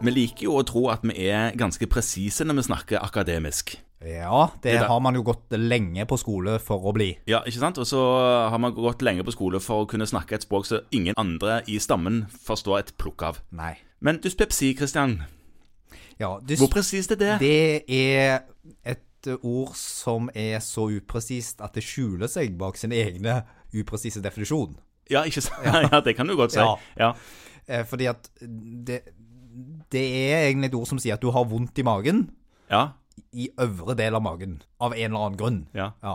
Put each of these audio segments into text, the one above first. Vi liker jo å tro at vi er ganske presise når vi snakker akademisk. Ja, det er det. har man jo gått lenge på skole for å bli. Ja, ikke sant? Og så har man gått lenge på skole for å kunne snakke et språk som ingen andre i stammen forstår et plukk av. Nei. Men dyspepsi, Christian, Ja, dys hvor presist er det? det er et ord som er så upresist at det skjuler seg bak sin egne upresise definisjon. Ja, ikke sant? Ja, det kan du godt si. Ja. Ja. Eh, fordi at det, det er egentlig et ord som sier at du har vondt i magen, ja. i øvre del av magen, av en eller annen grunn. Ja. Ja.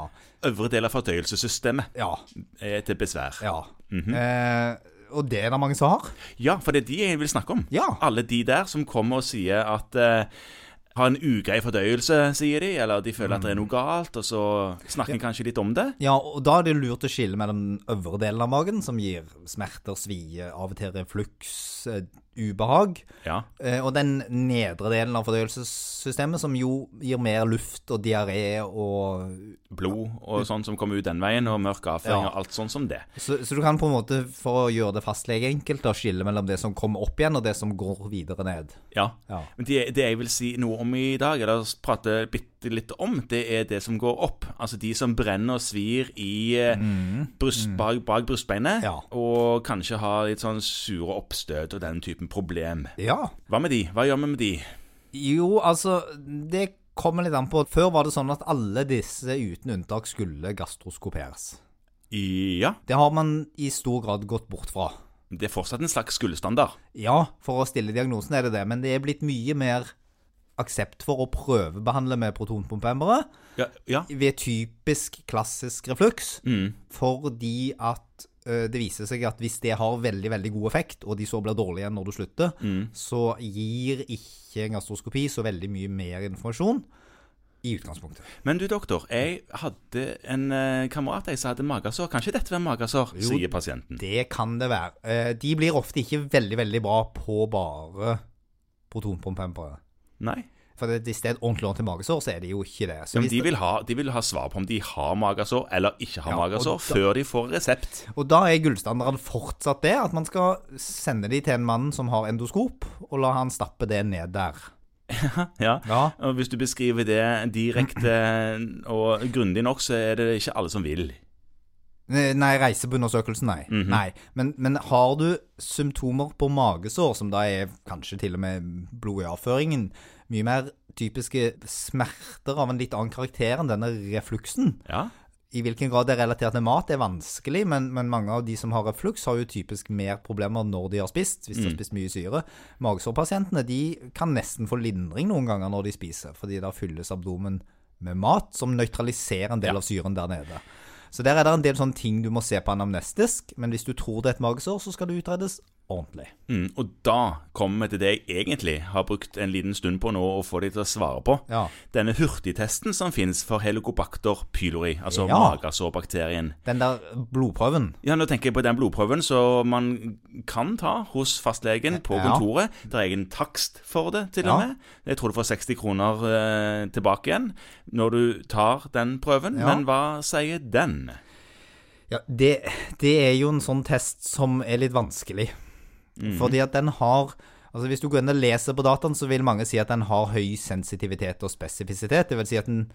Øvre del av fordøyelsessystemet Ja. er til besvær. ja. eh, og det er det mange som har. Ja, for det er de jeg vil snakke om. Ja. Alle de der som kommer og sier at eh, har en ugrei fordøyelse, sier de, eller de føler at det er noe galt, og så snakker de kanskje litt om det. Ja, og da er det lurt å skille mellom den øvre delen av magen, som gir smerter, svie, av og til refluks, eh, ubehag, Ja. eh, og den nedre delen av fordøyelsessystemet, som jo gir mer luft og diaré og Blod og sånn som kommer ut den veien, og mørk avføring Ja. og alt sånn som det. så, så du kan på en måte, for å gjøre det fastlege-enkelt, da, skille mellom det som kommer opp igjen, og det som går videre ned. Ja. Ja. Men det, det jeg vil si noe om i dag, eller prate bitte litt om, det er det som går opp. Altså de som brenner og svir i eh, bryst, bak, bak brystbeinet, Mm. Ja. og kanskje har litt sånn sure oppstøt og den typen problem. Ja. Hva med de? Hva gjør vi med de? Jo, altså, det kommer litt an på. Før var det sånn at alle disse uten unntak skulle gastroskoperes. I, ja, Det har man i stor grad gått bort fra. det er fortsatt en slags skulderstandard. Ja, for å stille diagnosen er det det, men det er blitt mye mer aksept for å prøvebehandle med protonpumphemmere Ja, ja. Mm. ved typisk klassisk refluks, fordi at ø, det viser seg at hvis det har veldig, veldig god effekt, og de så blir dårlige igjen når du slutter, Mm. så gir ikke en gastroskopi så veldig mye mer informasjon i utgangspunktet. Men du doktor, jeg hadde en eh, kamerat jeg som hadde magesår. Kan ikke dette være magesår, Jo, sier pasienten. Det kan det være. Eh, De blir ofte ikke veldig, veldig bra på bare protonpumphemmere. Nei. For det- hvis det er et ordentlig ordentlig magesår, så er det jo ikke det. Så Men hvis de det vil, ha, de vil ha svar på om de har magesår eller ikke har Ja, og magesår, da- før de får resept. og da er gullstandarden fortsatt det, at man skal sende de til en mann som har endoskop, og la han stappe det ned der. Ja. Ja. Og hvis du beskriver det direkte og grundig nok, så er det ikke alle som vil. Eh, Nei, reisebeundersøkelsen, nei. nei. Men, men har du symptomer på magesår, som da er kanskje til og med blod i avføringen, mye mer typiske smerter av en litt annen karakter enn denne refluksen, Ja, I hvilken grad det er relatert til mat er vanskelig, men, men mange av de som har refluks har jo typisk mer problemer når de har spist, hvis de har spist mye syre. Magesårpasientene de kan nesten få lindring noen ganger når de spiser, fordi da fylles abdomen med mat som nøytraliserer en del av syren der nede. Så der er det en del sånne ting du må se på anamnestisk, men hvis du tror det er et magesår, så skal det utredes ordentlig. mm, Og da kommer vi til det jeg egentlig har brukt en liten stund på nå å få de til å svare på. Ja. Denne hurtigtesten som finnes for helicobacter pylori, altså Ja. magesårbakterien. Den der blodprøven Ja, Nå tenker jeg på den blodprøven som man kan ta hos fastlegen på Ja. kontoret. Det er egen takst for det, til og Ja. med. Jeg tror du får 60 kroner eh, tilbake igjen når du tar den prøven. Ja. Men hva sier den? Ja, det, det er jo en sånn test som er litt vanskelig. Fordi at den har Altså Hvis du går inn og leser på dataen, så vil mange si at den har høy sensitivitet og spesifisitet. Det vil si at den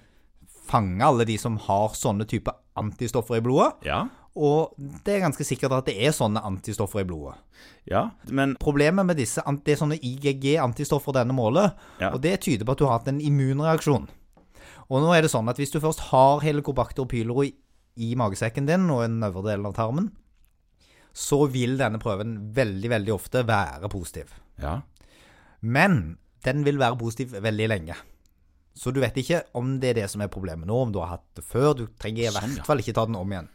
fanger alle de som har sånne type antistoffer i blodet. Ja. Og det er ganske sikkert at det er sånne antistoffer i blodet. Ja, men Problemet med disse ant- Det er sånne IGG-antistoffer denne målet, Ja. og det tyder på at du har hatt en immunreaksjon. Og nå er det sånn at hvis du først har helicobacter pylori i magesekken din og en øvre del av tarmen, så vil denne prøven veldig, veldig ofte være positiv. ja. Men den vil være positiv veldig lenge. Så du vet ikke om det er det som er problemet nå, om du har hatt det før. Du trenger i Sånn, ja. hvert fall ikke ta den om igjen.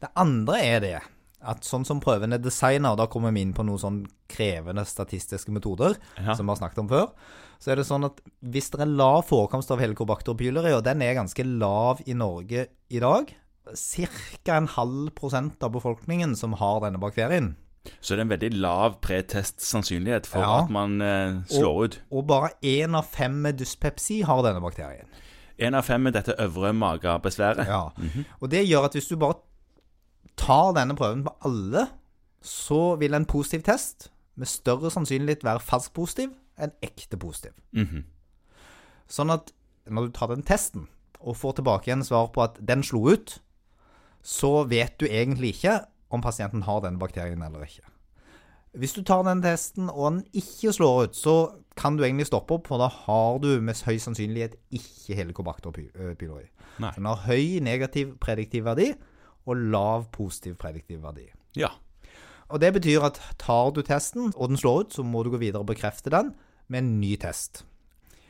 Det andre er det at sånn som prøven er designa, og da kommer vi inn på noen sånn krevende statistiske metoder Ja. som vi har snakket om før, så er det sånn at hvis det er lav forekomst av helicobacter pylori, og den er ganske lav i Norge i dag, ca. en halv prosent av befolkningen som har denne bakterien. Så det er en veldig lav pretest-sannsynlighet for Ja. at man eh, slår ut. Og bare én av fem med dyspepsi har denne bakterien. Én av fem med dette øvre magebesværet. Ja. Og det gjør at hvis du bare tar denne prøven på alle, så vil en positiv test med større sannsynlighet være falsk positiv en ekte positiv. Mhm. Sånn at når du tar den testen og får tilbake igjen svar på at den slo ut, så vet du egentlig ikke om pasienten har den bakterien eller ikke. Hvis du tar den testen og den ikke slår ut, så kan du egentlig stoppe opp, for da har du med høy sannsynlighet ikke helicobacter py- eh, pylori. Nei. Den har høy negativ prediktiv verdi og lav positiv prediktiv verdi. Ja. Og det betyr at tar du testen, og den slår ut, så må du gå videre og bekrefte den med en ny test.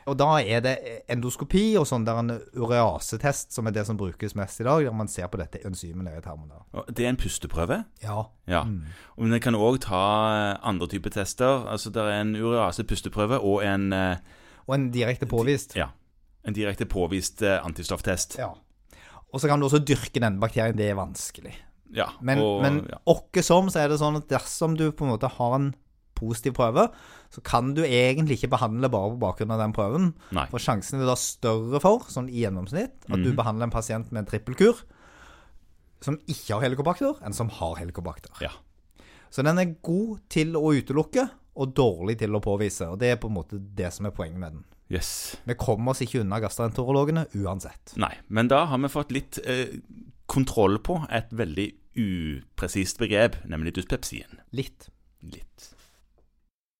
Og da er det endoskopi og sånn der en ureasetest, som er det som brukes mest i dag, der man ser på dette enzymet nede i tarmen. der. Og Det er en pusteprøve. Ja. Ja. Mm. Og Men en kan òg ta eh, andre typer tester. Altså Det er en urease pusteprøve og en, eh, Og en direkte påvist. ja, en direkte påvist eh, antistofftest. Ja. Og så kan du også dyrke denne bakterien. Det er vanskelig. Ja. Men, og, men ja. åkke som, så er det sånn at dersom du på en måte har en positiv prøve, så kan du egentlig ikke behandle bare på bakgrunn av den prøven. Nei. For sjansen er da større for, sånn i gjennomsnitt, at Mhm. du behandler en pasient med en trippelkur som ikke har helikobakter, enn som har helikobakter. Ja. Så den er god til å utelukke, og dårlig til å påvise. Og det er på en måte det som er poenget med den. Yes. Vi kommer oss ikke unna gastroenterologene uansett. Nei. Men da har vi fått litt eh, kontroll på et veldig upresist begrep, nemlig dyspepsien. Litt. Litt.